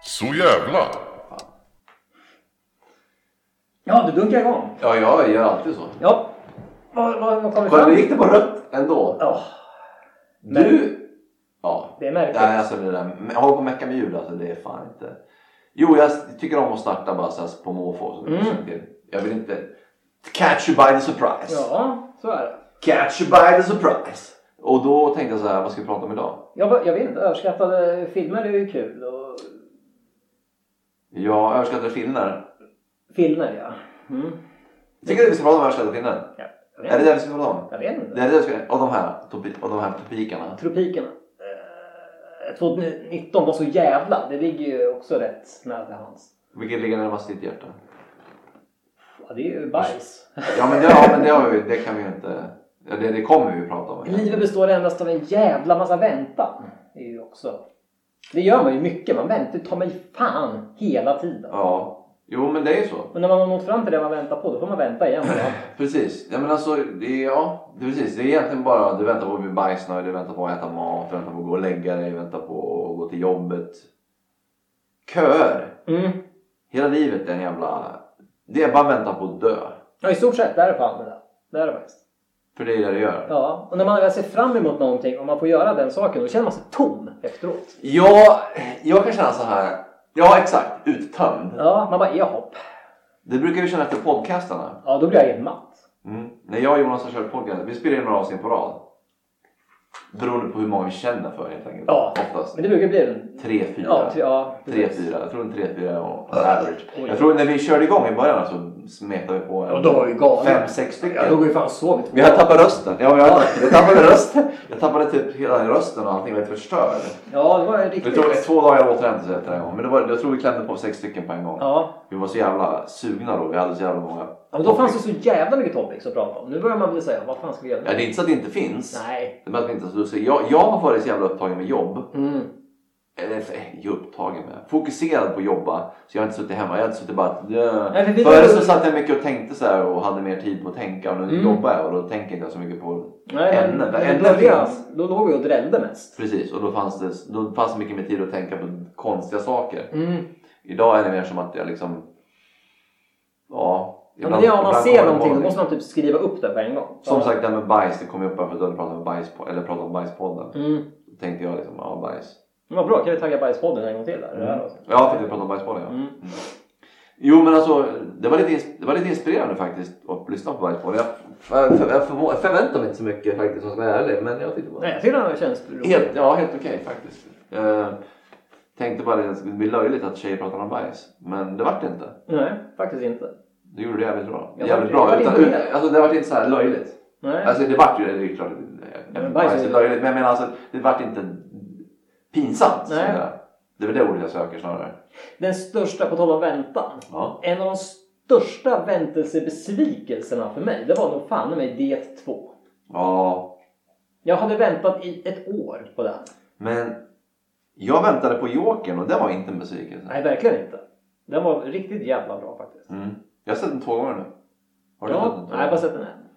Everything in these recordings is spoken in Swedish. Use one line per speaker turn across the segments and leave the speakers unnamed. Så jävla!
Ja, du dunkar igång.
Ja, jag gör alltid så.
Ja. Vad, vad, vad kom vi
Kolla,
fram
nu
till?
gick det på rött ändå.
Ja,
Du... Ja.
det är märkligt.
Nej, alltså det där. men Håll på och mecka med ljud alltså. Det är fan inte... Jo, jag tycker om att starta bara så här på måfå. Så
Mm.
mm. Jag vill inte... Catch you by the surprise.
Ja, så är det.
Catch you by the surprise. Och då tänkte jag så här, vad ska vi prata om idag?
Jag, bara- jag vet inte, överskattade filmer är ju kul. Och...
Jag överskattade filmer.
Filmer, ja. Mm.
Tycker du vi ska prata om överskattade filmer?
ja jag,
Är
vet
det
inte.
det vi ska prata om?
jag vet inte.
Det är det vi ska... Och de här, topi- och de här topikerna.
Tropikerna. Eh, 2019 var så jävla. Det ligger ju också rätt nära till hans.
Vilket ligger närmast ditt hjärta?
Ja, det är ju bajs.
Ja, men det, ja, men det, har vi, det kan vi ju inte... Ja, det, det kommer vi ju prata om.
Livet består endast av en jävla massa väntan. Det är ju också... Det gör man ju mycket. Man väntar ju ta mig fan hela tiden.
Ja. Jo, men det är ju så.
Och när man har nått fram till det man väntar på, då får man vänta igen. va?
Precis. Ja, men alltså, det är, ja, det är precis. Det är egentligen bara du väntar på att bli bajsnödig, du väntar på att äta mat, du väntar på att gå och lägga dig, du väntar på att gå till jobbet. Köer!
Mm.
Hela livet är en jävla... Det är bara att vänta på att dö.
Ja, i stort sett. Där är fan det där. Där är det faktiskt.
För det är det det gör.
Ja, och när man väl ser fram emot någonting och man får göra den saken, då känner man sig tom efteråt.
Jag, jag kan känna så här. Ja, exakt. Uttömd.
Ja, man bara, jahopp.
Det brukar vi känna efter podcastarna.
Ja, då blir jag helt matt.
Mm. När jag och Jonas har kört podcast, vi spelar in några avsnitt på rad. Beroende på hur många vi känner för helt enkelt.
Ja,
Oftast.
men det brukar bli en...
Tre, fyra.
Ja, ty, ja, precis.
3-4, jag tror en 3-4 och average.
Oj.
Jag tror när vi körde igång i början så smetade vi på
Ja, då var vi galna.
5-6
Ja, då
stycken.
går ju fan och sover två.
Men jag tappade rösten. Ja, men jag, jag tappade rösten. Jag tappade typ hela rösten och allting var helt förstörd.
Ja, det var ju
Det
riktigt...
tog två dagar att återhämta sig efter en gång. Men det var, jag tror vi klämde på sex stycken på en gång.
Ja,
Vi var så jävla sugna då. Vi hade så jävla många.
Ja, men då fanns det så jävla mycket topics att prata om. Nu börjar man bli säga, vad fan ska vi göra
Ja,
nu?
det är inte så att det inte finns.
Nej.
Det är bara att vi inte så du jag, jag har varit så jävla upptagen med jobb.
Mm.
Eller eh, jag är upptagen med. Fokuserad på att jobba. Så jag har inte suttit hemma. Jag har inte suttit bara... att-
Nej, för vi-
Förut så satt jag mycket och tänkte så här och hade mer tid på att tänka. Och nu
Mm.
jobbar jag och då tänker inte jag så mycket på...
Nej, men,
Ämnen,
men
ämnen
då började-
finns.
Då låg vi och drällde mest.
Precis. Och då fanns det, då fanns det mycket mer tid att tänka på konstiga saker.
Mm.
Idag är det mer som att jag liksom... Ja.
Ja, men det är om man ser
kommer det
någonting, då
bara-
måste man typ skriva upp det på en gång.
Som
Ja.
sagt det här med bajs. Det kom ju upp här för att du hade pratat om, bajs, eller pratat om bajspodden.
Mm.
Då tänkte jag liksom, ja bajs.
Men Vad bra, kan vi tagga bajspodden en gång till? Där? Det här avsnittet.
Ja, för att vi pratade om bajspodden ja.
Mm.
Jo men alltså, det var lite, det var lite inspirerande faktiskt att lyssna på Whiteboard. Jag, jag, för, jag förvå- förväntar mig inte så mycket faktiskt om jag ska vara ärlig. Men jag tyckte bara...
Nej, jag tycker den här känns rolig.
Helt, ja, helt okej faktiskt. Jag tänkte bara att det skulle bli löjligt att tjejer pratar om bajs. Men det vart det inte.
Nej, faktiskt inte.
Det gjorde det jävligt bra.
Jag
jävligt
vart- jag
bra.
vart
Utan,
inte-
utan, alltså, det vart inte så här löjligt.
Nej.
Alltså det vart ju det, det är klart. Det,
Men bajs är
bajs är
ju-
löjligt. Men jag menar alltså, det vart inte pinsamt. så
Nej.
att säga. Det är väl det ordet jag söker snarare.
Den största, på tal om väntan.
Ja.
En av de största väntelsebesvikelserna för mig, det var nog fan i mig det 2.
ja.
Jag hade väntat i ett år på den.
Men jag väntade på Jokern och det var inte en besvikelse.
Nej, verkligen inte. Den var riktigt jävla bra faktiskt.
Mm. Jag har sett den två gånger nu. Har du sett
Ja,
den
nej,
två
jag har bara
gånger?
sett den en.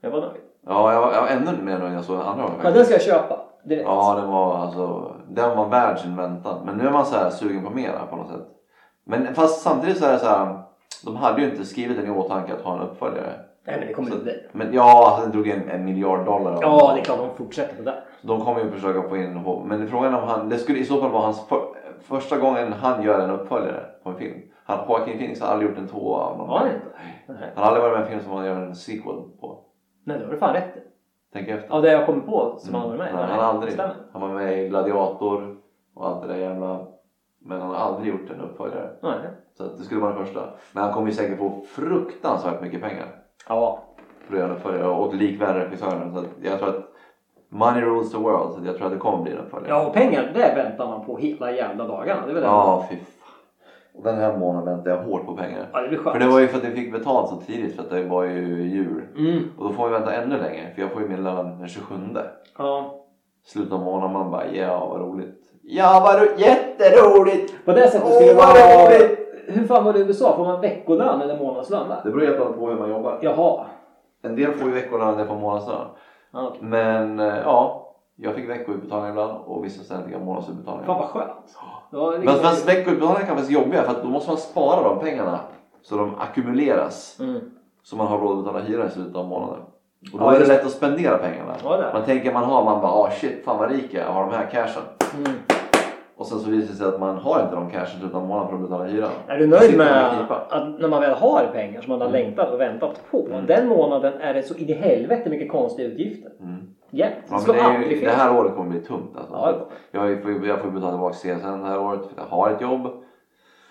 Jag var nöjd.
Ja, jag var, jag var ännu mer nöjd när jag såg den andra gången
Men den ska jag köpa direkt.
Ja, den var, alltså, den var värd sin väntan. Men nu är man så här sugen på mera på något sätt. Men fast samtidigt så är det så här. De hade ju inte skrivit den i åtanke att ha en uppföljare.
Nej, men det kommer
Så-
inte bli.
Men ja, alltså, den drog en, en miljard dollar. av-
Ja, det är klart de fortsätter på det.
De kommer ju försöka få in Ho- Men frågan är om han, det skulle i så fall vara hans för, första gången han gör en uppföljare på en film. Han, Joaquin Phoenix har aldrig gjort en tvåa av någon.
Har han inte? Nej.
Han har aldrig varit med i en film som han gör en sequel på.
Nej, det har du fan rätt i.
Tänk efter.
Av det jag kommer på som han var med i.
Mm. Nej, han har
Nej,
aldrig.
stämmer.
Han var med i Gladiator och allt det där jävla. Men han har aldrig gjort en uppföljare.
Nej.
Så att det skulle vara den första. Men han kommer ju säkert få fruktansvärt mycket pengar
Ja,
för att göra en uppföljare. Och likvärd regissören. Så att jag tror att money rules the world. Så att jag tror att det kommer bli en uppföljare.
Ja, och pengar, det väntar man på hela jävla dagarna. Det är väl det.
Ja, fy fan. Och Den här månaden väntar jag hårt på pengar.
Ja, det blir skönt.
För det var ju för att jag fick betalt så tidigt för att det var ju jul.
Mm.
Och då får vi vänta ännu längre för jag får ju min lön den 27.
Ja.
Slutet av månaden man bara ja vad roligt. Ja vad ro- jätteroligt!
På det sättet
Åh,
skulle det
vad
vara...
roligt!
Hur fan var det i USA? Får man veckolön eller månadslön där?
Det beror helt och hållet på hur man jobbar.
Jaha.
En del får ju veckolön, en del får månadslön.
Ja, Ah, okej.
Men eh, ja, Jag fick veckoutbetalning ibland och vissa ständiga månadsutbetalningar.
Fan vad skönt. Då är det
Men
liksom-
fast veckoutbetalningar kan vara jobbiga för att då måste man spara de pengarna så de ackumuleras.
Mm.
Så man har råd att betala hyra i slutet av månaden. Och då
Ja,
är det
just-
lätt att spendera pengarna.
Ja, det är.
Man tänker man har, man bara ah shit fan vad rik jag är och har de här cashen.
Mm.
Och sen så visar det sig att man har inte de cashen i slutet av månaden för att betala hyran.
Är du
Sitter
nöjd
man i
med
knipa.
att när man väl har pengar som man har längtat och väntat på.
Mm.
Den månaden är det så in i helvete mycket konstiga utgifter.
Mm.
Jämt.
Ja,
Det ska
men det, är
aldrig
ju, det
fel.
här året kommer bli tungt alltså.
Ja.
Jag, har ju- får, jag får betala tillbaka CSN det här året för att jag har ett jobb.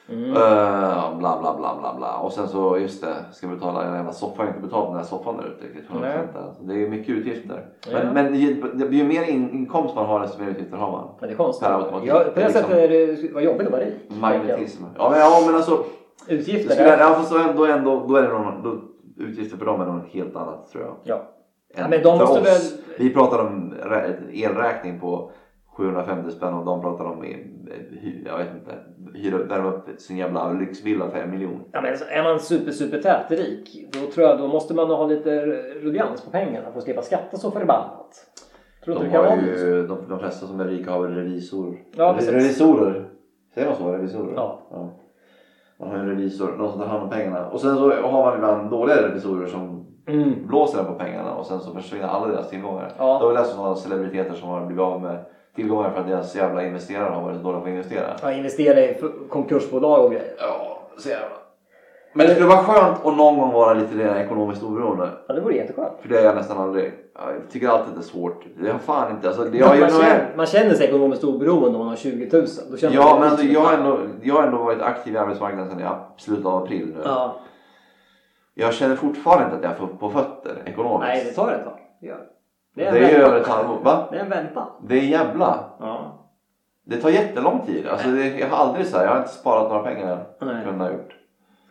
Mm.
Eh, bla bla bla bla bla. Och sen så just det, ska betala en jävla soffa. Jag har inte betalt den här soffan där ute riktigt. 100% där. Så Det är mycket utgifter. Men,
Ja.
men det är- det blir ju mer in, inkomst man har desto mer utgifter har man.
Men det är konstigt.
Per automatik.
Ja, på
Det är
det
liksom-
sättet är det vad jobbigt att vara rik.
Magnetism. Ja men, ja, men alltså.
Utgifter.
Det skulle,
är-
ja, fast då, ändå, ändå, då är det någon, då, utgifter för dem är något helt annat tror jag.
Ja.
än
Ja, men de
för
måste
oss.
väl-
Vi pratar om rä- elräkning på 750 spänn och de pratar om eh, hy, jag vet inte, hyra, värma upp sin jävla lyxvilla för en miljon.
Ja, men alltså, är man super, super tätrik då tror jag då måste man ha lite ruljans på pengarna för att slippa skatta så förbannat. Tror du
De,
det kan
har
vara
ju, de, de flesta som är rika har väl revisor.
Ja, precis.
revisorer. Säger man så? Revisorer?
Ja.
Man har ju en revisor, någon som tar hand om pengarna. Och sen så har man ibland dåliga revisorer som
Mm.
blåser den på pengarna och sen så försvinner alla deras tillgångar.
Ja.
Då har vi läst om sådana celebriteter som har blivit av med tillgångar för att deras jävla investerare har varit dåliga på att investera.
Ja, investera i f- konkursbolag och grejer.
Ja, så jävla. Men det skulle vara skönt att någon gång vara lite mer ekonomiskt oberoende.
Ja, det vore jätteskönt.
För det är jag nästan aldrig. Jag tycker alltid att det är svårt. Det har fan inte. Alltså, det, jag,
man,
jag, jag,
känner, man känner sig ekonomiskt oberoende om man har 20 000. Då känner
ja,
man liksom-
men alltså, jag, har ändå, jag har ändå varit aktiv i arbetsmarknaden sedan i slutet av april nu.
Ja.
Jag känner fortfarande inte att jag får på fötter ekonomiskt.
Nej, det tar ett tag. Det gör det.
det
är en
är
väntan.
över ett halvår. Va?
Det är en väntan.
Det är jävla
Ja.
Det tar jättelång tid. Alltså, det, jag har aldrig så här, jag har inte sparat några pengar än.
Nej.
Kunde ha gjort.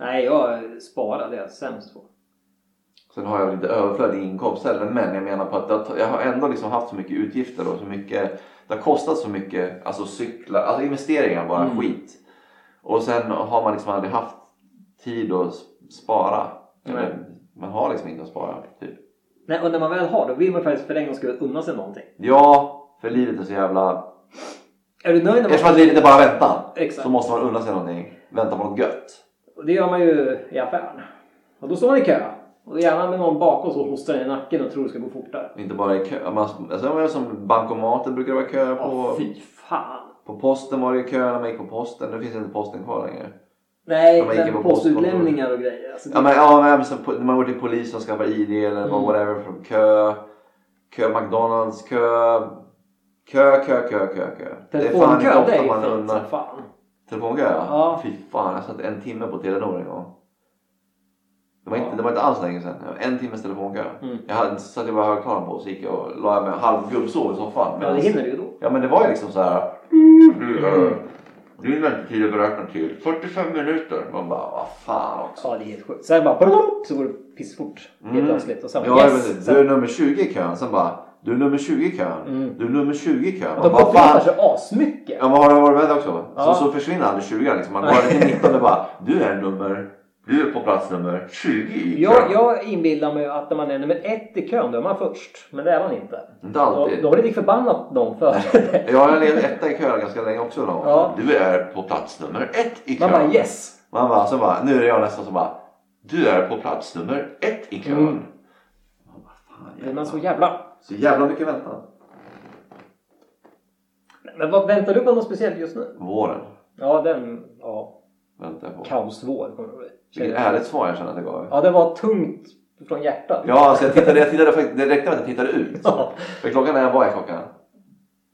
Nej, jag sparar. Det är jag sämst på.
Sen har jag väl inte överflödig inkomst heller. Men jag menar på att det har, jag har ändå liksom haft så mycket utgifter och så mycket. Det har kostat så mycket. Alltså cyklar, alltså investeringar bara
Mm.
skit. Och sen har man liksom aldrig haft tid att s- spara.
Nej.
Eller, man har liksom inte att spara. Typ.
Nej, och när man väl har då vill man faktiskt för en gångs skull unna sig någonting.
Ja, för livet är så jävla...
Är du nöjd när man...
Eftersom att livet är bara väntan.
Exakt.
Så måste man unna sig någonting. Vänta på något gött.
Och det gör man ju i affären. Och då står man i kö. Och gärna med någon bakom som hostar en i nacken och tror det ska gå fortare.
Inte bara i kö. Man, alltså, jag menar som bankomater brukar det vara köer på.
Åh, fy fan.
På posten var det ju köer när man gick på posten. Nu finns inte posten kvar längre.
Nej,
Ja, men gick
men
på postkontor.
postutlämningar och grejer. Alltså, det...
Ja men, ja, men så, på- när man går till polisen och skaffar ID eller
Mm.
whatever. Från kö, kö McDonalds, kö, kö, kö, kö, kö, kö.
Telefonkö,
inte
det är
ofta
ju
man
fint
unnar.
som fan.
Telefonkö ja.
Ja.
Fy fan, jag satt en timme på Telenor en gång. Det var, inte,
Ja.
det var inte alls länge sedan. Jag var En timmes telefonkö.
Mm.
Jag hade, satt jag bara högtalaren på och så gick jag och la mig halv gubbsov i soffan.
Ja, det Mm.
Medans-
hinner du ju då.
Ja men det var ju liksom så här. Mm. Din väntetid är beräknad till 45 minuter. Man bara, vad fan också.
Ja, det är helt sjukt. Sen bara brrrr, så går det pissfort helt
Mm.
plötsligt. Och sen
Ja,
bara,
jag vet
yes!
inte.
Sen,
du är nummer 20 i kön. Sen bara, du är nummer 20 i kön.
Mm.
Du är nummer 20 i kön.
de
Man bara,
profilerar
fan.
sig asmycket.
Ja, men har du varit med också?
Ja.
Så, så försvinner aldrig 20 liksom. Man går till 19 och bara, du är nummer, du är på plats nummer 20 i kön.
Jag, jag inbillar mig att när man är nummer ett i kön, då är man först. Men det är man inte.
Inte
Då,
alltid.
då har det lik förbannat någon före dig.
Jag har legat etta i kön ganska länge också. Då.
Ja.
Du är på plats nummer ett i kön.
Man bara yes!
Man bara, så bara, nu är jag nästan som bara, du är på plats nummer ett i kön.
Mm.
Man bara, fan,
Men man
jävlar.
så jävla...
Så jävla mycket väntan.
Men vad, väntar du på något speciellt just nu?
Våren
Ja, den... Ja,
väntar jag på.
kaosvår kommer det bli.
Vilket
Känner jag.
ärligt svar jag känner att det gav.
Ja, det var tungt från hjärtat.
Ja, alltså jag tittade, jag tittade faktiskt, det räckte med att jag tittade ut.
Ja.
För klockan är, vad är klockan?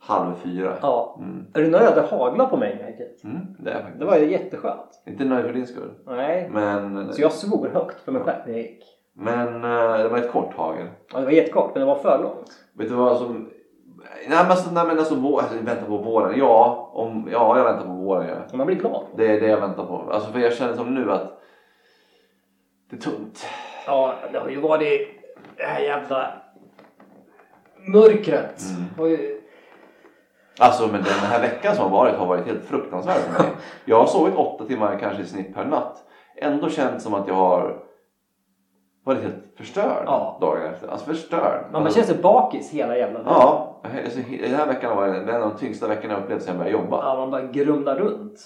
Halv fyra.
Ja.
Mm.
Är du nöjd att det haglar på mig när jag gick hit?
Mm, det är jag faktiskt.
Det var ju jätteskönt.
Inte nöjd för din skull.
Nej.
Men,
Så jag svor högt för mig själv när jag gick.
men eh, det var ett kort hagel.
Ja, det var jättekort, men det var för långt.
Vet du vad som... Nej men alltså, nej, men alltså, vår, alltså vänta på våren. Ja, om, ja, jag väntar på våren. Ja.
Och Man blir glad.
Det är det jag väntar på. Alltså för jag känner som nu att det är tungt.
Ja, det har ju varit det här jävla mörkret.
Mm.
Har ju-
Alltså men den här veckan som har varit har varit helt fruktansvärd för mig. Jag har sovit åtta timmar kanske i snitt per natt. Ändå känns som att jag har varit helt förstörd
Ja.
dagen efter. Alltså förstörd.
Man bara känner sig bakis hela jävla dagen.
Ja, alltså, he- den här veckan var det en av de tyngsta veckorna jag upplevt sedan jag började jobba.
Ja, man bara grumlar runt.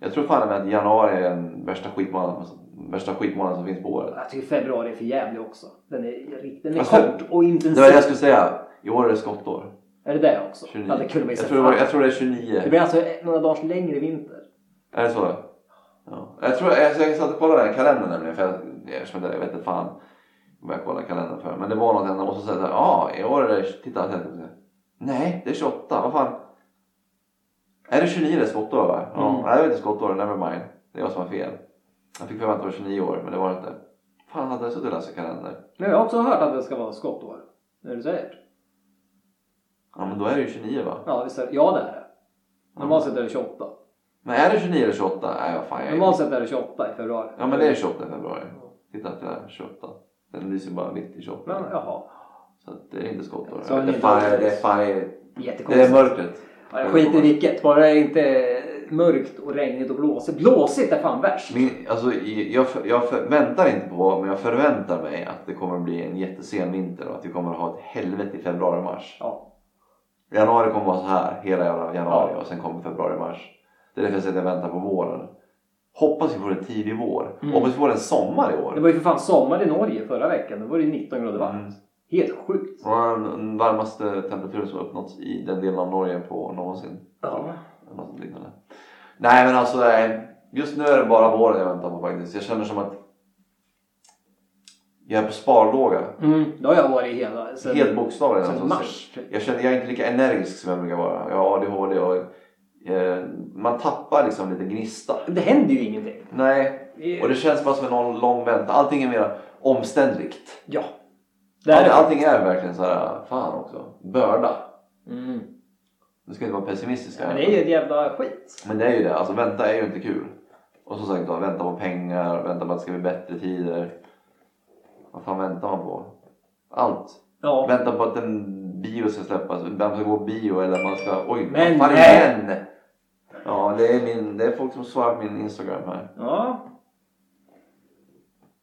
Jag tror fan att januari är den värsta skitmånaden, värsta skitmånaden som finns på året.
Jag tycker februari är för jävlig också. Den är, rikt- den är
Alltså,
kort och intensiv.
Det var det jag skulle säga. I år är det skottår.
Är det det också?
29.
Ja, det kunde man ju
jag,
sett
tror det var,
fram
jag
emot.
tror det är 29.
Det blir alltså några dagars längre vinter.
Är det så? Ja. Jag tror, alltså jag satt och kollade den kalendern nämligen. För jag, eftersom jag, jag vet inte fan vad jag kollade kalendern för. Men det var något ändamål som sa såhär. Ja, i år är det... Titta. jag tänkte så här, Nej, det är 28. Vad fan. Är det 29 det är skottår va? Ja.
Mm.
Nej, det var inte skottår. Never mind. Det är jag som har fel. Jag fick för mig att det var 29 år, men det var det inte. Fan, hade jag suttit och läst kalender?
Men jag har också hört att det ska vara skottår. När du säger det.
Ja, men då är det ju 29 va?
Ja, visst är det. Ja, det är det. Normalt sett är det 28.
Men är det 29 eller 28? Nej, vad fan. Jag
Normalt sett är det 28 i februari.
Ja, men det är 28 i februari. Titta att det är 28. Den lyser bara mitt i 28.
Men, jaha.
Så att det är inte skottår.
Så
Jag vet inte
har ni
fan,
inte-
det är fan, det är
Jättekonstigt.
mörkret.
Ja, jag skiter i vilket. Bara det är inte mörkt och regnigt och blåsigt. Blåsigt är fan värst.
Min, alltså, jag, jag förväntar inte på, men jag förväntar mig att det kommer bli en jättesen vinter och att vi kommer ha ett helvete i februari och mars.
Ja.
Januari kommer vara så här hela jävla januari
Ja.
och sen kommer februari och mars. Det är därför jag säger att jag väntar på våren. Hoppas vi får en tidig vår.
Mm.
Hoppas vi får en sommar i
Det
år.
var ju för fan sommar i Norge förra veckan. Då var det ju 19 grader varmt.
Mm.
Helt sjukt.
Det var den varmaste temperaturen som uppnåtts i den delen av Norge på någonsin.
Ja.
Eller Något liknande. Nej men alltså nej. just nu är det bara våren jag väntar på faktiskt. Jag känner som att jag är på sparlåga.
Mm, det har jag varit hela sen,
Helt bokstavligen.
sen
alltså.
mars. typ.
Jag känner jag är inte lika energisk som jag brukar vara. Jag har ADHD och eh, man tappar liksom lite gnista.
Det händer ju ingenting.
Nej,
Det-
och det känns bara som en lång, lång väntan. Allting är mer omständligt.
Ja. Det är
All,
det.
allting är verkligen så här, fan också, börda.
Mm.
Nu ska jag inte vara pessimistisk här.
Men det är ju ett jävla skit.
Men det är ju det, alltså vänta är ju inte kul. Och som sagt då, vänta på pengar, vänta på att det ska bli bättre tider. Vad fan väntar man på? Allt.
Ja.
Vänta på att en bio ska släppas, vem ska gå på bio eller att man ska... Oj,
Men
vad fan
nej!
igen! Ja, det är, min, det är folk som svarar på min Instagram här.
Ja.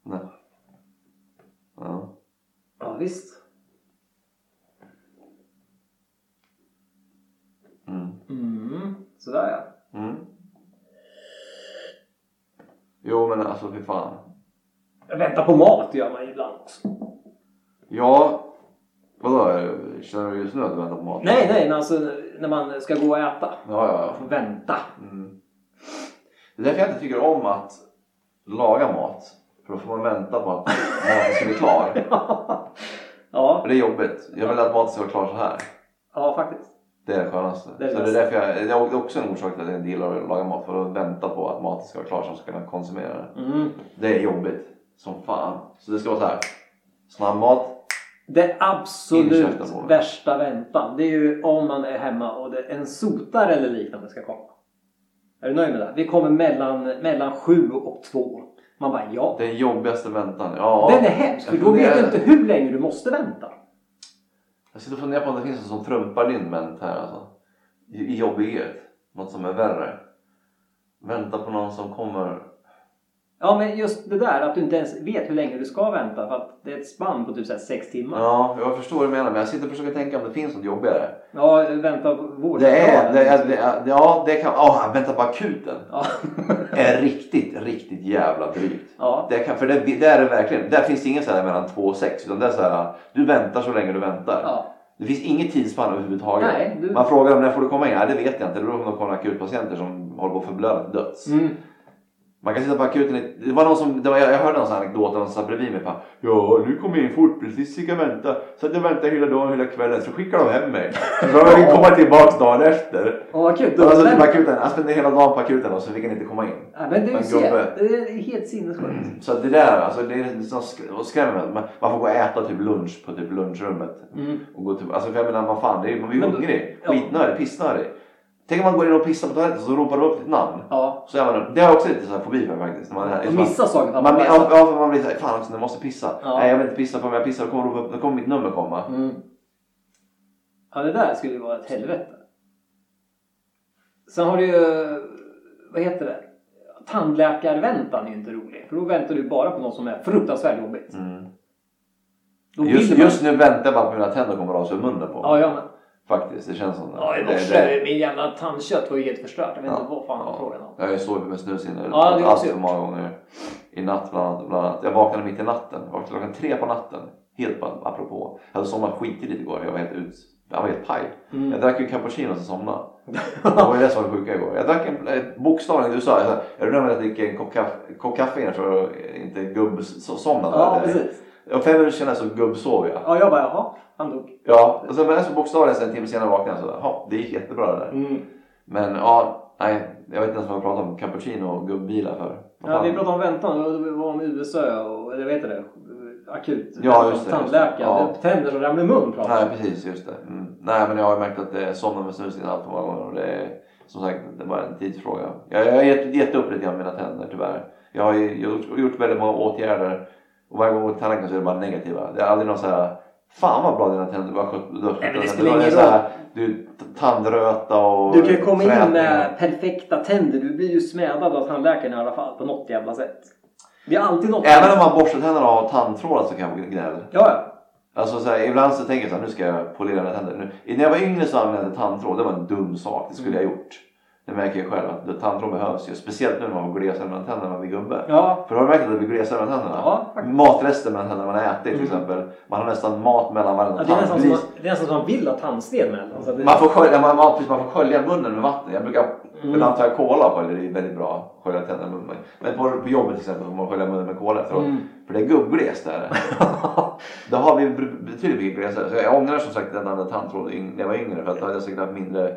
Nej. Ja.
ja, visst.
Mm.
Mm. Sådär ja.
Mm. Jo men alltså fy fan.
Jag väntar på mat gör man ju ibland också.
Ja, vadå? Känner du just nu att du väntar på mat?
Nej, nej, men alltså när man ska gå och äta.
Ja, ja, ja.
Man får vänta.
Mm. Det är därför jag inte tycker om att laga mat. För då får man vänta på att maten ska bli klar.
Ja,
Och det är jobbigt. Jag vill att maten ska vara klar så här.
ja faktiskt.
Det är det skönaste.
Det är det
så det, är därför jag, det är också en orsak till att jag inte gillar att laga mat. För att vänta på att maten ska vara klar så man ska kunna konsumera den.
Mm.
Det är jobbigt. Som fan. Så det ska vara så här. Snabbmat.
Det absolut
Inköpta mål.
värsta väntan det är ju om man är hemma och det en sotare eller liknande ska komma. Är du nöjd med det? Vi kommer mellan, mellan sju och två. Man bara ja.
Den jobbigaste väntan. Ja.
Den är hemsk för
Jag
då vet du
funderar-
inte hur länge du måste vänta.
Jag sitter och funderar på om det finns något som trumpar din vänt här alltså. I i jobbighet. Något som är värre. Vänta på någon som kommer.
Ja men just det där att du inte ens vet hur länge du ska vänta för att det är ett spann på typ 6 timmar.
Ja, jag förstår vad du menar men jag sitter och försöker tänka om det finns något jobbigare.
Ja, vänta på vård.
Det är, det är, det är ja det kan, ah, vänta på akuten.
Ja.
Är riktigt, riktigt jävla drygt.
ja.
Det kan, för det, det är det verkligen. Där finns det ingen så här mellan två och sex utan det är så här, du väntar så länge du väntar.
ja.
Det finns inget tidsspann överhuvudtaget.
Nej, du...
Man frågar dem när får du komma in? Nej det vet jag inte. Det beror på om de kommer akutpatienter som håller på att förblöda till döds.
Mm.
Man kan sitta på akuten. i- Det var någon som, det var, jag jag hörde någon sån här anekdot där någon satt bredvid mig. Bara, ja, nu kom jag in fort. Precis fick jag vänta. Så att jag väntade hela dagen, hela kvällen. Så skickade de hem mig. Så då fick jag komma tillbaka dagen efter.
Och vad kul.
Då var jag satt
Men-
på akuten. Jag spenderade hela dagen på akuten och så fick jag inte komma in.
Ja, men du
Men
ser,
gubbe.
det är helt sinnessjukt.
Så att det där, alltså det är liksom sk- och skrämmande. Man, man får gå och äta typ lunch på typ lunchrummet.
Mm.
Och gå till, alltså för jag menar vad fan, det är, man blir ju
Men då-
hungrig.
ja.
Skitnödig, pissnödig. Tänk om man går in och pissar på toaletten så ropar de upp ditt namn.
Ja,
Så är man, det har jag också lite så här fobi för faktiskt. När Man, är-
och missa saker. Alltså.
Ja,
Man,
Man, ja, ja, för man blir såhär, fan också, nu måste jag pissa.
Ja.
Nej jag vill inte pissa på mig, jag pissar och kommer, ropa upp- då kommer mitt nummer komma.
Mm. ja, det där skulle ju vara ett helvete. Sen har du ju, vad heter det? Tandläkarväntan är ju inte rolig. För då väntar du bara på något som är fruktansvärt jobbigt.
Mm.
Då vill
Just,
man-
just nu väntar jag bara på mina tänder kommer rasa ur munnen på
Ja, jag med.
Faktiskt, det känns som
Ja, i morse. Min jävla tandkött var ju helt förstört. Jag vet inte vad fan var frågan om.
Jag har ju sovit med snus inne
Ja, det är
allt
också
för många gånger. I natt bland annat, bland annat. Jag vaknade mitt i natten. Jag vaknade klockan tre på natten. Helt bara apropå. Jag hade somnat skitigt igår. Jag var helt ut... Jag var helt paj. Jag
Mm.
drack ju cappuccino och somnade. Det var ju det som var det sjuka igår. Jag drack en, eh, bokstavligen, du sa jag sa, är du nöjd med att jag dricker en kopp kaffe, kopp kaffe innan för att eh, inte gubbsomna?
Ja, precis.
Och fem minuter senare så gubbsov jag.
Ja, jag bara jaha, han dog.
Ja, och sen, men så bokstavligen sen en timme senare vaknade jag så, ja det gick jättebra det där.
Mm.
Men ja, nej, jag vet inte ens vad jag pratade om cappuccino och gubbbilar för. Vad
Ja,
fan?
vi pratade om väntan och det var om USA och, eller vad heter det? Akut.
Ja, just det,
Tandläkare.
just det.
Tänder som ramlar i mun pratade vi om.
Nej, precis, just det. Mm. Nej, men jag har ju märkt att det somnar med snus innan allt för många gånger och det är som sagt det är bara en tidsfråga. Jag, jag har gett, gett upp lite grann med mina tänder tyvärr. Jag har ju gjort, gjort väldigt många åtgärder och varje gång jag går till tandläkaren så är det bara negativa. Det är aldrig någon så här Fan vad bra dina tänder du har skött. Du har skött
Nej, men det
dina
spelar
tänder."
ingen
är så här, Du tandröta och
Du kan ju komma in
frätningar.
med perfekta tänder. Du blir ju smädad av tandläkaren i alla fall på något jävla sätt. Det är alltid något.
Även om man borstar tänderna och har tandtrådar så kan jag få gnäll.
Ja,
Alltså så här, ibland så tänker jag så här, nu ska jag polera mina tänder. Nu, när jag var yngre så använde jag tandtråd, det var en dum sak, det
Mm.
skulle jag gjort. Det märker jag själv att tandtråd behövs ju. Speciellt nu när man får glesare mellan tänderna när man blir gubbe.
ja. Ja,
För då har du märkt att det blir glesare mellan tänderna.
ja faktiskt.
Matrester mellan tänderna man äter till
Mm.
exempel. Man har nästan mat mellan varenda
Ja, det, är nästan som
tand.
man, det är nästan som man vill ha tandsten med. Alltså, det,
Man får, skölja, man, man, precis, man får skölja munnen med vatten. Jag brukar
Mm.
ibland tar jag cola och sköljer. Det är väldigt bra att skölja tänderna med munnen. Men på, på jobbet till exempel får man skölja munnen med cola efteråt.
Mm.
För det är gubbglest där. Då har vi b- betydligt mycket glesare. Så jag ångrar som sagt att jag använde tandtråd yng- när jag var yngre. För att då hade jag säkert haft mindre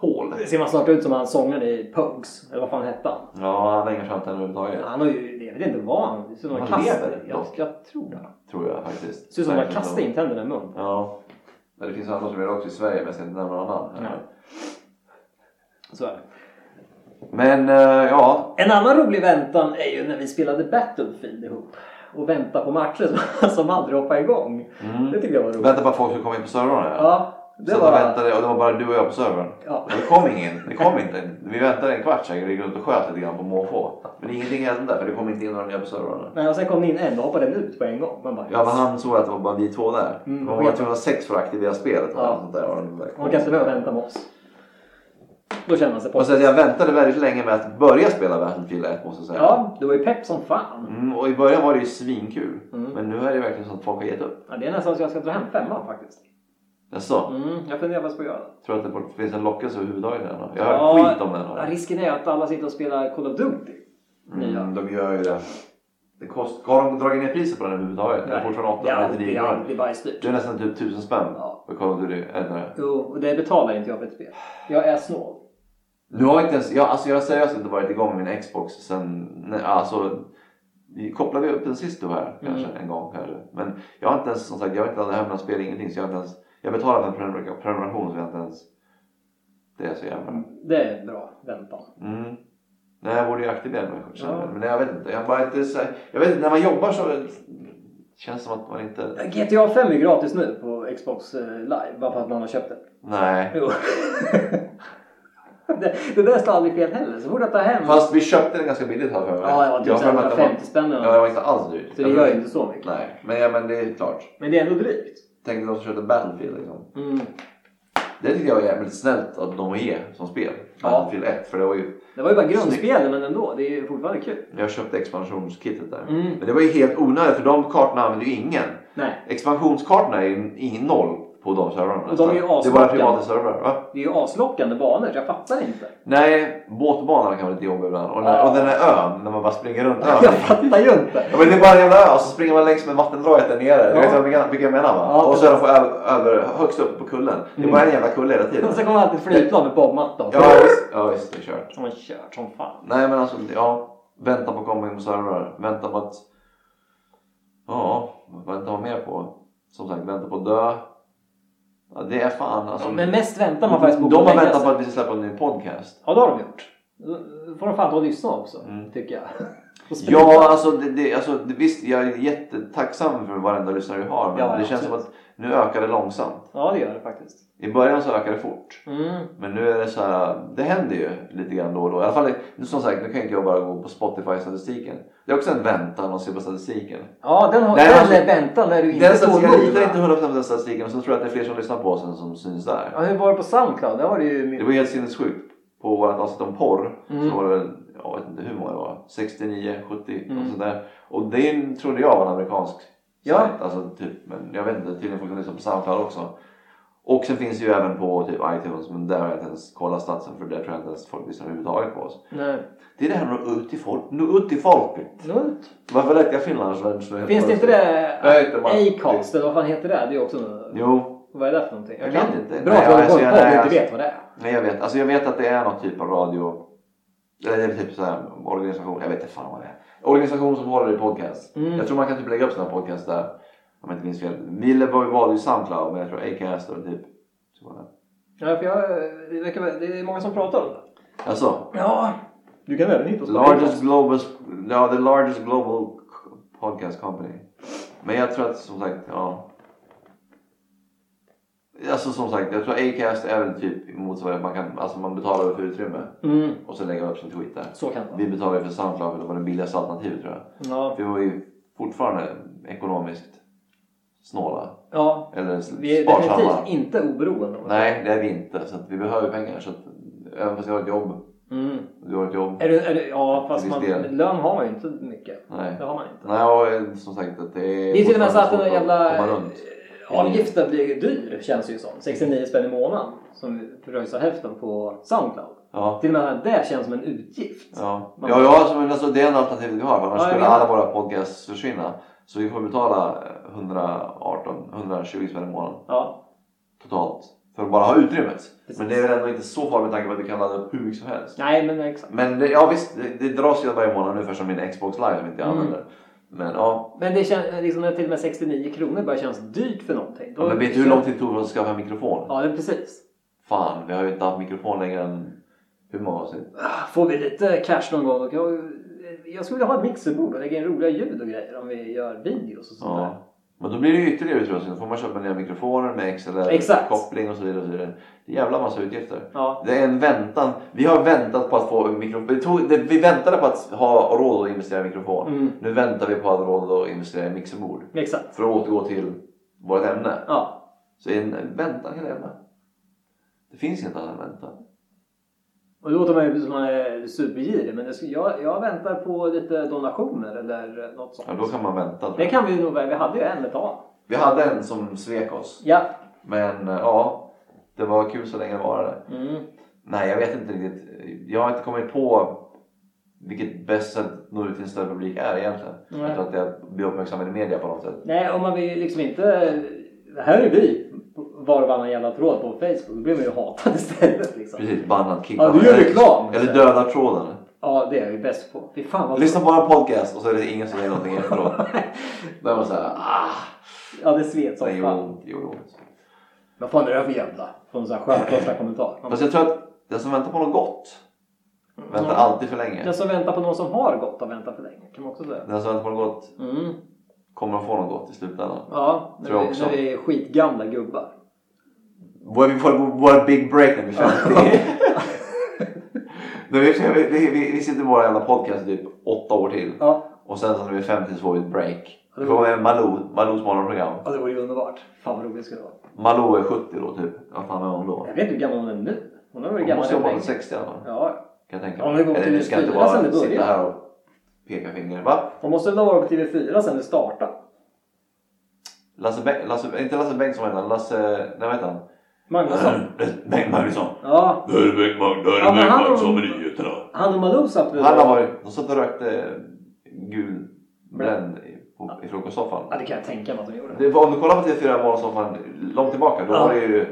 hål.
det ser man snart ut som han sångade i Pugs. Eller vad fan hette han?
Ja, han har inga framtänder överhuvudtaget.
Han har ju, jag vet inte vad han... Det ser ut som en
Han
kast-
lever
jag,
dock.
jag tror det.
Tror jag faktiskt.
Det ser ut som att man
Verkligen.
kastar in tänderna i munnen.
Ja. Men det finns andra som gör det också i Sverige. Men jag ska inte nämna någon annan.
Nej. Så är det.
Men eh, ja.
En annan rolig väntan är ju när vi spelade Battlefield ihop. Och vänta på matcher som, som aldrig hoppar igång.
Mm.
Det tyckte jag var roligt.
Vänta på att folk skulle komma in på servrarna.
Ja,
Det
det
Sen
var...
väntade och det var bara du och jag på servern.
Ja.
Och det kom ingen. Det kom inte. Vi väntade en kvart säkert och gick runt och sköt lite grann på måfå. Men ingenting hände för det kom inte in några nya på servrarna.
Nej, och sen kom det in en och hoppade den ut på en gång. Man bara,
Ja men han såg att det var bara vi två där.
Mm,
Man var
skit.
tvungen att ha sex för att aktivera spelet.
Ja.
Ja. Sånt där. Och de där
Man kan inte behöva vänta med oss. Då känner man sig på.
Och så att jag väntade väldigt länge med att börja spela Battlefield 1 måste jag säga.
Ja, du var ju pepp som fan.
Mm, och i början var det ju svinkul.
Mm.
Men nu är det verkligen så att folk har gett upp.
Ja, det är nästan så jag ska dra hem femman faktiskt.
Jaså?
Mm, jag funderar faktiskt på att göra det.
Tror du att det finns en lockelse överhuvudtaget i den? här? Jag har
Ja.
hört skit om den.
Ja,
här.
risken är att alla sitter och spelar Call of Duty. Nya.
Mm, de gör ju det. det kost... Har de dragit ner priset på den överhuvudtaget? Det är
Nej,
fortfarande 8
det är
eller
alltid, det
99
är
kronor.
alltid bajsdyrt.
Det är nästan typ 1000 spänn.
Ja.
För Call of Duty, eller det.
Jo, och det betalar inte jag för ett spel. Jag är snål.
Nu har jag inte ens, jag, alltså jag har seriöst inte varit igång med min Xbox sen, nej, alltså vi kopplade upp den sist du var här kanske
Mm.
en gång kanske. Men jag har inte ens, som sagt jag har inte laddat hem några spel, ingenting. Så jag har inte ens, jag betalar för en prenumer- prenumeration så jag har inte ens, det är så jävla.
Det är en bra väntan.
Mm. Nej, jag borde ju aktivera mig själv.
Ja.
Men jag vet inte, jag bara inte så, här- jag vet inte, när man jobbar så känns det som att man inte,
GTA 5 är gratis nu på Xbox eh, live bara för att någon har köpt det.
nej.
Jo. det, det där står aldrig fel heller. Så borde jag ta hem...
Fast vi köpte den ganska billigt här för mig.
Ja, det var
Jag
typ
har för mig att det var-
150 spänn
Ja, det var inte alls dyrt.
Så det gör ju inte så mycket.
Nej, men, ja, men det är klart.
Men det är ändå drygt.
Tänk dig de som köpte Battlefield liksom.
Mm.
Det tycker jag är jävligt snällt att de ger som spel.
Ja.
Battlefield 1. För det var ju,
Det var ju bara grundspelen men ändå. Det är ju fortfarande kul.
jag köpte expansionskittet där.
Mm.
Men det var ju helt onödigt för de kartorna använder ju ingen.
Nej,
Expansionskartorna är ju ingen noll på de servrarna.
Och de är ju
nästan. Det är bara
asmacka.
privata servrar va?
det är ju aslockande banor så jag fattar inte.
Nej, båtbanan kan vara lite jobbig ibland. Och den,
Ja.
och den här ön, när man bara springer runt ön.
Jag fattar ju inte.
Ja, men det är bara en jävla ö och så springer man längs med vattendraget där nere.
Ja.
Du vet vad jag- vilka jag menar va?
Ja, Mm.
och så är de på över, över, högst upp på kullen. Det är bara en jävla kulle hela tiden.
Och så kommer alltid flygplan med bombmatta.
Ja visst, ja, visst det är kört.
Som har kört som fan.
Nej men alltså, ja. Vänta på att komma in på servrar. Vänta på att... Ja, vad väntar man mer på? Som sagt, vänta på att dö. Ja, det är fan alltså.
Ja, men mest väntar man faktiskt på
de har
lägga
väntat
sig.
på att vi ska släppa en ny podcast.
Ja, det har de gjort. Då får de fan ta och lyssna också,
Mm.
tycker jag. Och sprida.
Ja, alltså, det, det, alltså det, visst, jag är jättetacksam för varenda lyssnare vi har. Men
Ja, ja,
det känns som
absolut.
att Nu ökar det långsamt.
Ja, det gör det faktiskt.
I början så ökar det fort.
Mm.
Men nu är det så här, det händer ju lite grann då och då. I alla fall, nu som sagt, nu kan inte jag bara gå på Spotify-statistiken. Det är också en väntan att se på statistiken.
Ja, den, har,
Nej,
den
alltså-
är väntan är du inte
Den statistiken, jag
tålmodig,
litar
va?
inte 100% på den statistiken men så tror jag att det är fler som lyssnar på oss än som syns där.
Ja, hur var det på Soundcloud? Där var det ju
Det
mycket.
var helt sinnessjukt. På vårt avsnitt om porr
Mm.
så var det väl, jag vet inte hur många det var, 69, 70
Mm.
och sådär. Och det trodde jag var en amerikansk
Ja.
sajt. Alltså, typ, men jag vet inte, tydligen folk som lyssnar på Soundcloud också. Och sen finns det ju även på typ iTunes men där har jag inte ens kollat statsen för där tror jag inte ens folk lyssnar överhuvudtaget på oss.
Nej.
Det är det här med att nå ut till folk. Nå ut till folket!
Nunt.
Varför lät jag Finlands vän-
Finns det inte det?
Jag heter Martin.
Acast eller vad fan heter det? Det är också
Jo,
Vad är det för någonting?
Jag
kan-
vet inte.
Bra
Nej,
att du har koll
alltså,
på
jag-
det
nej,
och inte
alltså-
vet vad det är.
Nej jag vet, alltså jag vet att det är någon typ av radio eller det är typ så här organisation, jag vet inte fan vad det är. Organisation som håller i podcast.
Mm.
Jag tror man kan typ lägga upp sådana podcast där. Om jag inte minns fel. Mille var ju valde ju Soundcloud men jag tror Acast och typ så var det.
Ja, för jag, det, verkar, väl- det är många som pratar om det.
Alltså,
Ja. Du kan även hitta oss på
largest global, ja the largest global podcast company. Men jag tror att som sagt, ja. Alltså som sagt, jag tror Acast är väl typ motsvarande, man kan, alltså man betalar för utrymme
Mm,
och så lägger man upp sin tweet där.
så kan det vara.
Vi betalade för Soundcloud för det var det billigaste alternativet tror jag.
Ja,
Vi var ju fortfarande ekonomiskt snåla.
ja,
Eller
vi är
sparsamma.
definitivt inte oberoende. av det.
Nej, det är vi inte. Så att vi behöver pengar. Så att, även fast jag har ett jobb.
Mm.
och Du har ett jobb.
Är du, är du, ja, fast
Till
man,
viss del.
lön har man ju inte mycket.
Nej.
Det har man inte.
Nej, och som sagt att det är...
Det är till och med så att den där
fortfarande svårt
jävla
att komma runt.
eh, avgiften blir ju dyr känns det ju som. 69 spänn i månaden som pröjsar hälften på Soundcloud.
Ja.
Till och med det känns som en utgift.
Ja, ja, ja alltså, men alltså, det är enda alternativet vi har. för Annars
Ja, jag
skulle
menar.
alla våra podcasts försvinna. Så vi får betala eh, 118, 120 spänn i månaden.
Ja,
totalt för att bara ha utrymmet.
Precis.
Men det är väl ändå inte så farligt med tanke på att du kan ladda upp hur mycket som helst.
nej men exakt.
Men det, ja visst, det, det dras ju varje månad nu för som min Xbox live som inte jag
Mm.
använder. Men ja,
Men det känns liksom när till och med 69 kronor bara känns dyrt för någonting. Då-
ja men vet du hur lång tid det tog för oss att skaffa en mikrofon?
Ja, men precis.
Fan, vi har ju inte haft mikrofon längre än hur många avsnitt?
Ah, Får vi lite cash någon gång? Och jag, jag skulle vilja ha ett mixerbord och lägga in roliga ljud och grejer om vi gör videos och sånt där.
Ja. Men då blir det ju ytterligare utrustning. Då får man köpa nya mikrofoner med
Exakt.
XLR-koppling och så vidare. Och så vidare. Det är jävla massa utgifter.
Ja.
Det är en väntan. Vi har väntat på att få en mikrofon. Vi, tog, det, vi väntade på att ha råd att investera i mikrofon.
Mm.
Nu väntar vi på att ha råd att investera i mixerbord.
Exakt.
För att återgå till vårt ämne.
Ja.
Så är en väntan hela jävla... Det finns inget annat än väntan.
Och det låter man ju som man är supergirig men det, skulle- jag, jag väntar på lite donationer eller något sånt.
Ja, då kan man vänta. tror jag.
Det kan vi nog, vi hade ju en ett tag.
Vi hade en som svek oss.
Ja.
Men eh, ja, det var kul så länge det varade.
Mm.
Nej, jag vet inte riktigt. Jag har inte kommit på vilket bäst sätt att nå ut till en större publik är egentligen.
Nej.
Jag tror att jag blir uppmärksammad i media på något sätt.
Nej, om man vill liksom inte... Här är vi var och varannan jävla tråd på Facebook. Då blir man ju hatad istället liksom.
Precis, bannad,
Ja,
kickad.
du gör reklam!
Eller döda tråden.
Ja, det är jag ju bäst på. Fy fan vad...
Lyssna på en podcast och så är det ingen som säger någonting efteråt. Då är man såhär, ah,
Ja, det svet
det
som
gjorde
fan.
ont, det gjorde ont.
Vad fan är det här för jävla? Får en sån här skön första kommentar. Man
Fast jag tror att den som väntar på något gott väntar
Mm.
alltid för länge.
Den som väntar på någon som har gått har väntat för länge. Kan man också säga.
Den som väntar på något gott
Mm.
kommer att få något gott i slutändan.
Ja, när
Tror jag
vi,
också.
när vi är skitgamla gubbar.
Vår- Vi får vår big break när vi är 50. Men vi, vi, vi, vi, vi sitter i våra jävla podcast i typ åtta år till.
Ja,
Och sen så när vi är 50 så får vi ett break.
Ja, det
Vi
var-
får vara med i Malou, Malous morgonprogram.
ja det vore ju underbart. Fan vad roligt det skulle vara.
Malou är 70 då typ. Vad fan är hon då?
Jag vet inte hur gammal hon är nu. Hon har varit
Hon
gammal
måste jobba
länge.
till 60 i alla fall.
Ja,
Kan jag tänka
Ja, men vi går
Eller
till
du ska inte
fyra sen det
bara
börjar.
sitta här och peka finger. Va?
hon måste väl ha varit på TV4 sen det startade.
Lasse, Beng- Lasse, inte Lasse Bengtsson vad heter han? Lasse... Nej vad heter han?
Magnusson.
Bengt Magnusson.
Ja,
Då är det Bäckman, då Mm. är
Ja,
det
men han-
Bäckman som är nyheterna.
han och Malou satt väl...
Han har varit... De satt och rökte gul bränd i, på, i
Ja,
frukostsoffan.
det kan jag tänka mig att de gjorde.
Det var, om du kollar på TV4 Morgonsoffan långt tillbaka då
Ja.
var det ju...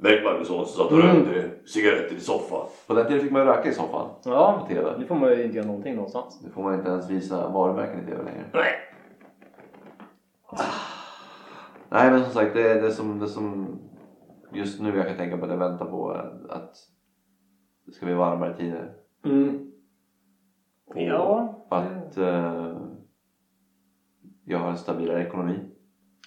Bengt Magnusson som satt och
Mm.
rökte cigaretter i soffan.
På den tiden fick man ju röka i soffan på
Ja,
TV.
nu får man ju inte göra någonting någonstans.
Nu får man inte ens visa varumärken i TV längre.
Nej.
Nej men som sagt det, det, som, det som just nu jag kan tänka på det väntar på är att det ska bli varmare tider.
Mm.
Och-
Ja. Mm.
Att eh, jag har en stabilare ekonomi.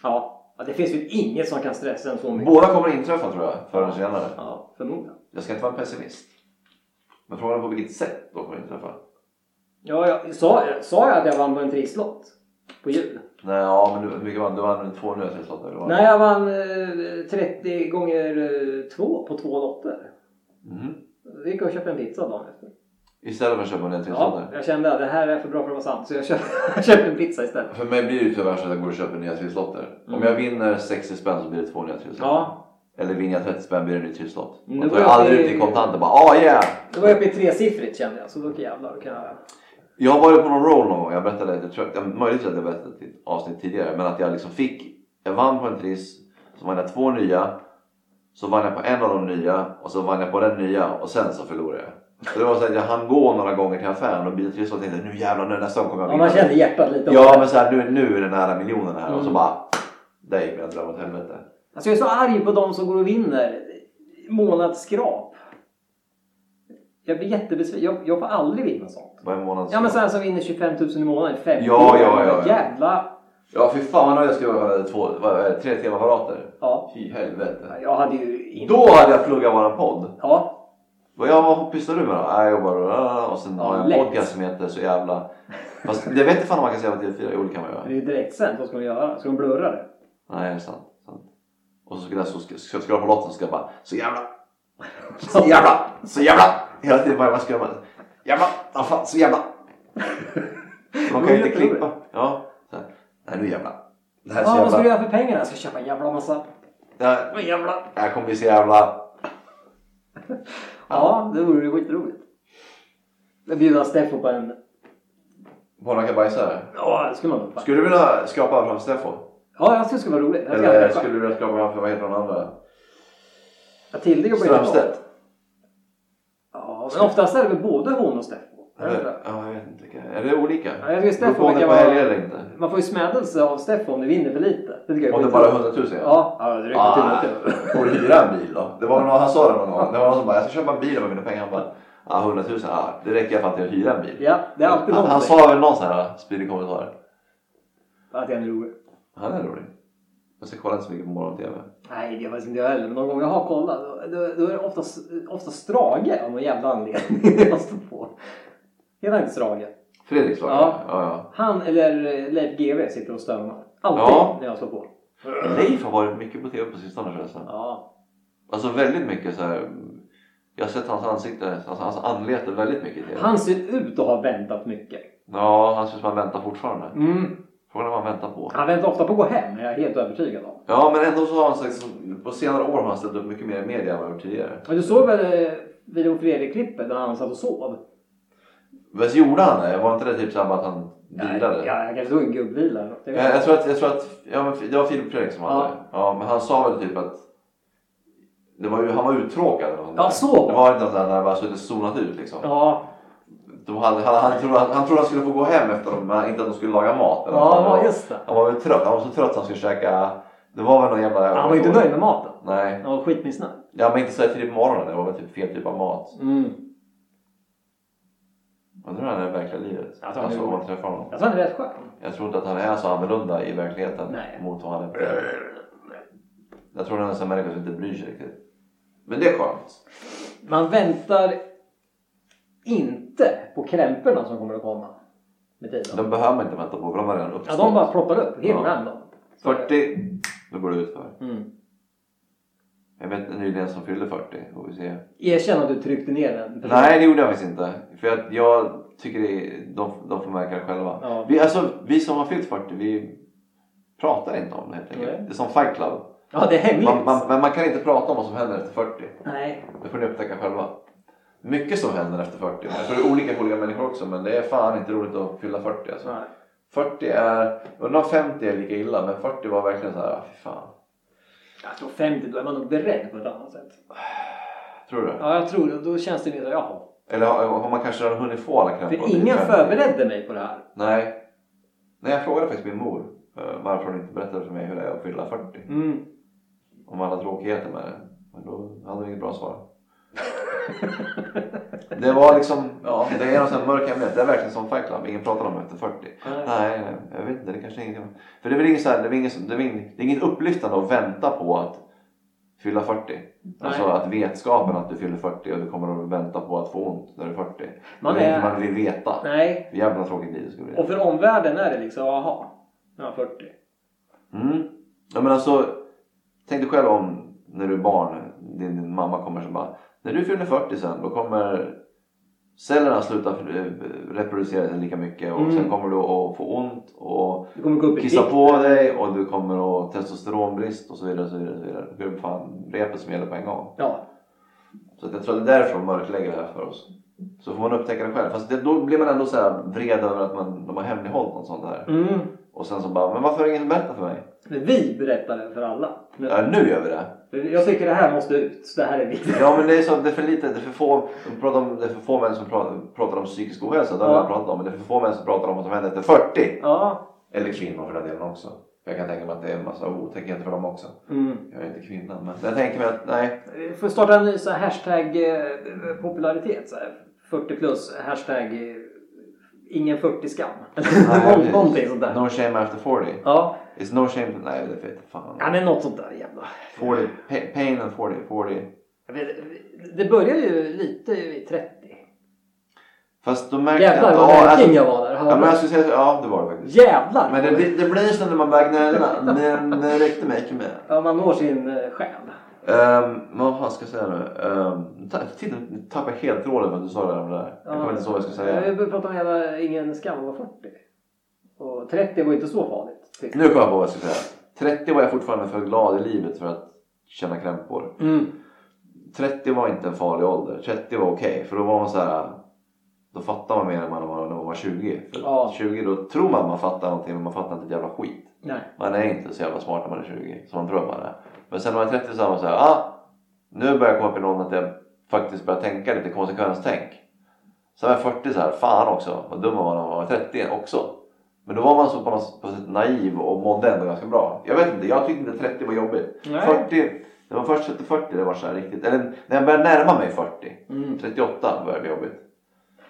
Ja, Ja, det finns väl inget som kan stressa en så mycket.
Båda kommer inträffa tror jag, förr eller senare.
Ja, förmodligen.
Jag ska inte vara en pessimist. Men frågan är på vilket sätt de kommer inträffa.
Ja, jag, sa, sa jag att jag vann på en trisslott? På jul?
Nej, ja, men du, hur mycket vann du? vann två nya trisslottar eller vad?
Nej, jag vann eh, 30 gånger eh, två på två lotter.
Mhm.
Vi gick jag och köpte en pizza dagen efter.
Istället för att köpa nya
Ja,
trisslottar?
jag kände att det här är för bra för att vara sant så jag köpte, jag köpte en pizza istället.
För mig blir det ju tyvärr så att jag går och köper nya trisslotter.
Mm.
Om jag vinner 60 spänn så blir det två nya trisslotter.
Ja.
Eller vinner jag 30 spänn blir det en ny trisslott.
Mm,
Man
det
tar ju
var ju-
aldrig ut i kontanter bara ah yeah!
Det var uppe i tresiffrigt kände jag så då jävlar då kan jag...
Jag var ju på någon roll någon gång. Jag berättade, jag tror, jag, möjligtvis att jag berättade i ett avsnitt tidigare. Men att jag liksom fick, jag vann på en triss. Så vann jag två nya. Så vann jag på en av de nya. Och så vann jag på den nya. Och sen så förlorade jag. Så det var så att jag hann gå några gånger till affären och byta trisslott. och tänkte nu jävlar nu nästa gång kommer jag
Ja, man kände hjärtat lite.
Ja men såhär nu, nu är det nära miljonen här och så
Mm.
bara där gick mina drömmar åt helvete.
Alltså jag är så arg på de som går och vinner månadsskrap. Jag blir jättebesviken. Jag, jag får aldrig vinna sånt.
Vad är månadens
Ja men sådana som vinner 25 000 i månaden i fem
Ja,
år.
ja, ja, ja.
Jävla...
ja fy fan vad nöjd jag skulle vara om jag hade två, vad är det, tre TV-apparater.
Ja.
Fy helvete.
Jag hade ju inte...
Då hade jag pluggat våran podd.
Ja.
Vad jag vad pysslar du med då? Jag jobbar och, och sen
Ja,
har jag en
lätt.
podcast som heter så jävla... Fast det vet inte fan om man kan säga vad TV4 är olika med
Det är
göra.
ju direkt sent. Vad ska de göra? Ska de blurra det?
Nej det är sant. sant. Och så skulle jag så ska, ska jag skrapa på lotten och ska jag bara så jävla, så jävla, så jävla. Hela tiden bara man ska man jävla, ah, fan, så jävla. Man kan ju inte klippa. Ja. Så här. Nej nu jävla. Det här är
Ja, vad
så
ska du
jävla.
göra för pengarna? Jag ska köpa en jävla massa...
Ja,
En jävla...
Det här kommer bli så jävla.
Ja, det vore ju skitroligt. Jag bjuder Steffo på en...
Barnakabajsare.
Ja, det skulle man nog fan.
Skulle du vilja skrapa fram Steffo?
Ja, jag skulle det skulle vara roligt. Jag ska
Eller
Eller,
skulle du vilja skrapa fram för vad heter den andra?
Matilda jobbar ju inte
Strömstedt?
Ja, men oftast är det väl både hon och Steffo. Är det inte
Eller-
det?
Ja, jag vet inte. vilka. Är det olika?
Ja, jag tycker Steffo
Beror på om det är
verkar
på
vara-
helger eller inte.
Man får ju smädelse av Steffo om du vinner för lite. Det tycker jag
Om det
skitroligt.
bara är 100 000 ja.
Ja, ja det räcker
Ah,
till mycket.
får du hyra en bil då? Det var någon, han sa det någon gång. Det var någon som bara, jag ska köpa en bil med mina pengar. Han bara, ah, 100 000, ah, det räcker i alla fall till att hyra en bil.
Ja, det är alltid
han,
någonting.
han sa väl någon sån här spydig kommentar.
Att jag är rolig.
Han är rolig. Jag ska kolla inte så mycket på morgon-tv.
Nej, det var inte jag heller. Men någon gång jag har kollat, då, då, då är det oftast, oftast Strage av någon jävla anledning jag står på. Heter han inte Strage?
Fredrik slår
Ja.
ja. ja,
Han eller eh, Leif GW sitter och stönar. Alltid
Ja.
när jag slår på.
ja. Leif har varit mycket på tv på sistone förresten.
Ja.
Alltså väldigt mycket så här. Jag har sett hans ansikte, alltså hans anlete väldigt mycket i tv.
Han ser ut att ha väntat mycket.
Ja, han ser ut som han väntar fortfarande.
Mm.
Frågan är vad han väntar på.
Han väntar ofta på att gå hem, är jag helt övertygad om.
Ja, men ändå så har han sagt, som- på senare år har han ställt upp mycket mer i media än vad han gjort tidigare.
Men du såg väl eh, William Fredrik-klippet där han satt och sov?
Vad gjorde han det? Var inte det typ så här bara att han vilade?
Ja, jag kanske såg en gubbvila eller något. Jag vet
Jag, jag
inte.
tror att, jag tror att ja, men det var Filip Fredrik som hade
Ja.
det. Ja, men han sa väl typ att det var ju, han var uttråkad. eller något
Ja,
sånt där.
så.
Det var inte något där när han bara suttit och zonat ut liksom.
Ja,
De hade, han, han, trodde, han, han trodde han skulle få gå hem efter dem, men inte att de skulle laga mat. Eller något sånt där.
ja just det.
Han var väl trött. Han var så trött att han skulle käka. Det var väl någon jävla...
Han var ju inte nöjd med maten.
Nej.
Han var skitmissnöjd.
Ja, men inte så här tidigt på morgonen. Det var väl typ fel typ av mat.
Mm.
Undrar hur han är i verkliga livet.
Jag tror han är
Alltså om
god.
man träffar honom.
Jag tror han är rätt skön.
Jag tror inte att han är så annorlunda i verkligheten
Nej.
mot vad han är på tv. Jag tror han är en sån människa som inte bryr sig riktigt. Men det är skönt.
Man väntar inte på krämporna som kommer att komma med tiden.
De behöver man inte vänta på för de har redan
Ja,
uppstått.
de bara ploppar upp helt
Ja.
random. Så-
40! Nu går det utför.
Mm.
Jag vet en nyligen som fyllde 40. Får vi se.
Erkänn att du tryckte ner den. personen.
Nej det gjorde jag faktiskt inte. För jag, jag tycker det är, de, de får märka det själva.
Ja.
Vi, alltså, vi som har fyllt 40 vi pratar inte om det helt enkelt.
Nej.
Det är som Fight Club.
Ja, det är hemligt.
Man, man, men man kan inte prata om vad som händer efter 40.
Nej.
Det får ni upptäcka själva. Mycket som händer efter 40. Jag tror det är olika för olika människor också men det är fan inte roligt att fylla 40 alltså.
Nej.
40 är, undrar om 50 är lika illa men 40 var verkligen så här, ah, fy fan.
Jag tror 50, då är man nog beredd på ett annat sätt.
Tror du?
Ja, jag tror det. Då känns det mer så här, jaha.
Eller har, har man kanske redan hunnit få alla krämpor?
För ingen
till 50?
förberedde mig på det här.
Nej. Nej, jag frågade faktiskt min mor eh, varför hon inte berättade för mig hur det är att fylla 40.
Mm.
Om alla tråkigheter med det. Men då hade hon inget bra svar. Det var liksom, ja, det är någon sån här mörk hemlighet. Det är verkligen som Fight Club, ingen pratar om efter 40.
Nej.
Nej, jag vet inte, det kanske är inget. För det är väl inget, så här, det är väl inget, det är väl inget, det är inget upplyftande att vänta på att fylla 40. Alltså att vetskapen att du fyller 40 och du kommer att vänta på att få ont när du är 40.
Man
Man, är...
är-
man vill veta.
Nej,
Jävla tråkigt liv det skulle bli.
och för omvärlden är det liksom, jaha, nu är han 40.
Mm. Ja, men alltså, tänk dig själv om när du är barn, din, din mamma kommer så bara När du fyller 40 sen då kommer cellerna sluta eh, reproducera sig lika mycket och
Mm.
sen kommer du att få ont och
Du kommer gå upp i
kissa
vikt.
på dig och du kommer att ha testosteronbrist och så vidare. Så vidare, så vidare. Det är fan repet som gäller på en gång.
Ja,
Så att jag tror att det är därför de mörklägger det här för oss. Så får man upptäcka det själv. Fast det, då blir man ändå så här vred över att man, de har hemlighållit något sånt här.
mm.
Och sen så bara, men varför har ingen berättat för mig?
Men vi berättar det för alla. Men
Ja, nu gör vi det!
Jag tycker det här måste ut, så det här är viktigt.
Ja men det är, så, det är för lite, det är för få, de pratar om, det är för få män som pratar, pratar om psykisk ohälsa, det har
Ja.
jag pratat om. Men det är för få män som pratar om vad som händer efter 40.
Ja,
Eller kvinnor för den delen också. Jag kan tänka mig att det är en massa otäckheter för dem också.
mm.
Jag är inte kvinna men jag tänker mig att nej.
Vi får Eh, starta en ny så här hashtag eh, popularitet. Så här. 40 plus, hashtag eh, ingen 40-skam.
nej
Någonting sånt där.
No shame after 40.
Ja.
It's no shame, nej det vet fan.
ja, men något sånt där jävla.
40, pa- pain and 40, 40.
Jag vet- Det börjar ju lite vid 30.
Fast då märker
Jävlar vad
ja, alltså-
nära jag var där.
ja,
Hörde
men
du?
jag skulle säga, ja det var det faktiskt.
Jävlar!
Men det, blir- det blir så när man väger nära, men det räckte mig inte med.
Ja, man når sin eh, själ.
Um, vad fan ska jag säga nu? Um, ta, tiden tappar jag helt tråden för att du sa det där. med det där. Jag kommer inte ihåg vad jag ska
Ja,
säga.
Vi började prata om jävla ingen skam var 40. Och 30 var ju inte så farligt. tycker
Nu kommer jag på vad jag ska säga. 30 var jag fortfarande för glad i livet för att känna krämpor.
jag. Mm.
30 var inte en farlig ålder. 30 var okej för då var man så här. Då fattar man mer än man var när man var 20. För
Ja.
20 då tror man man fattar någonting men man fattar inte ett jävla skit.
Nej.
Man är inte så jävla smart när man är 20 som man tror att man är. Men sen när man är 30 så är man så här. Ah, nu börjar jag komma upp i någon att jag faktiskt börjar tänka lite konsekvenstänk. Sen var jag 40 så här. Fan också vad dum man var när man var 30 också. Men då var man så på något på något sätt naiv och mådde ändå ganska bra. Jag vet inte, jag tyckte inte 30 var jobbigt.
Nej.
40, det var först efter 40 det var så här riktigt. Eller när jag började närma mig 40.
Mm.
38 började det jobbigt.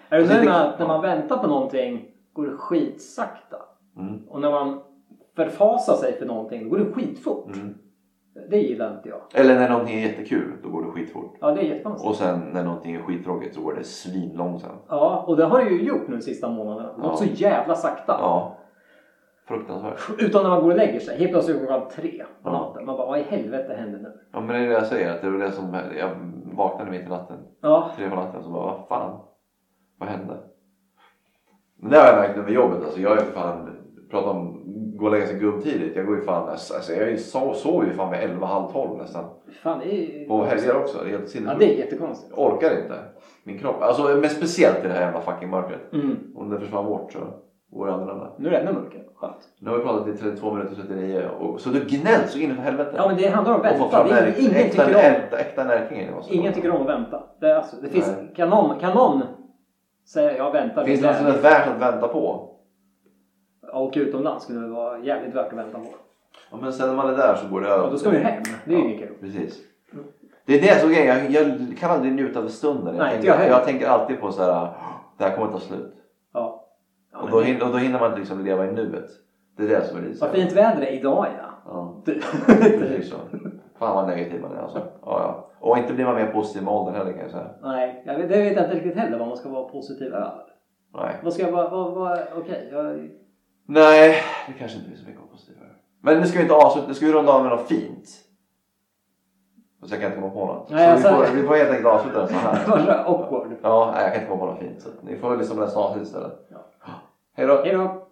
Är du
Jag
nöjd
tycker-
med att när man väntar på någonting går det skitsakta?
Mm.
Och när man förfasar sig för någonting då går det skitfort.
Mm.
Det gillar inte jag.
Eller när någonting är jättekul, då går det skitfort.
Ja, det är jättekonstigt.
Och sen när någonting är skittråkigt så går det svinlångsamt.
Ja, och det har det ju gjort nu de sista månaderna. Det har gått så
Ja.
jävla sakta.
Ja. Fruktansvärt.
Utan när man går och lägger sig. Helt plötsligt är klockan tre på
Ja.
natten. Man bara, vad i helvete händer nu?
Ja men det är det jag säger. Att det var det som jag vaknade mitt i natten.
Ja,
Tre på natten så bara vad fan. Vad hände? Men det har jag märkt över jobbet. Alltså jag är för fan. Prata om gå och lägga sig gubbtidigt. Jag går ju fan. Alltså jag är ju so- sover ju fan vid elva, halv tolv nästan.
fan det är ju...
På helger också. Det är helt
Ja,
sinnessjukt.
det är jättekonstigt.
Jag orkar inte. Min kropp. Alltså men speciellt i det här jävla fucking mörkret.
Mm.
Om det försvann bort så vore det annorlunda.
Nu är det ännu mörkare. Skönt.
Nu har vi pratat i 32 minuter och 39 och så du gnälls så in i för helvete.
Ja, men det handlar om
Och få
vänta.
fram
Det är,
äkta-
ingen,
äkta,
tycker om,
äkta, äkta närkingen. det måste
ingen
vara.
tycker om att vänta. Det, är alltså, det finns,
Nej.
kan, någon, kan någon säga jag väntar?
Finns det
det
något som är värt att vänta på?
Åka utomlands skulle det vara jävligt värt att vänta på.
Ja, men sen när man är där så går det över.
Ja, då ska man ju hem. Det är ju
Ja,
inget kul.
Precis. Det är det som är grejen. Jag, jag kan aldrig njuta av stunden. Jag,
Nej, inte
tänker,
jag heller.
jag tänker alltid på så här. Det här kommer ta slut.
Ja. Ja,
och,
men
då
det-
hinner, och då hinner man inte liksom leva i nuet. Det är det som är det.
Vad fint väder det är idag ja.
Ja,
Du-
precis så. Fan vad negativ man är alltså. Ja, ja. Och inte blir man mer positiv med åldern heller kan jag säga.
Nej, jag vet, det vet jag inte riktigt heller vad man ska vara positiv över.
Nej.
Vad ska jag vara... vad- vad- Okej, jag...
Nej, det kanske inte blir så mycket positivare. Men nu ska vi inte avsluta, nu ska vi runda av med något fint. Och så jag kan inte komma på något.
Nej,
så vi,
alltså-
får, vi får helt enkelt avsluta den så här.
Det var så här awkward.
Ja, nej, jag kan inte komma på något fint. Så ni får väl lyssna på nästa avsnitt istället.
Ja.
Hej då!
Hej då!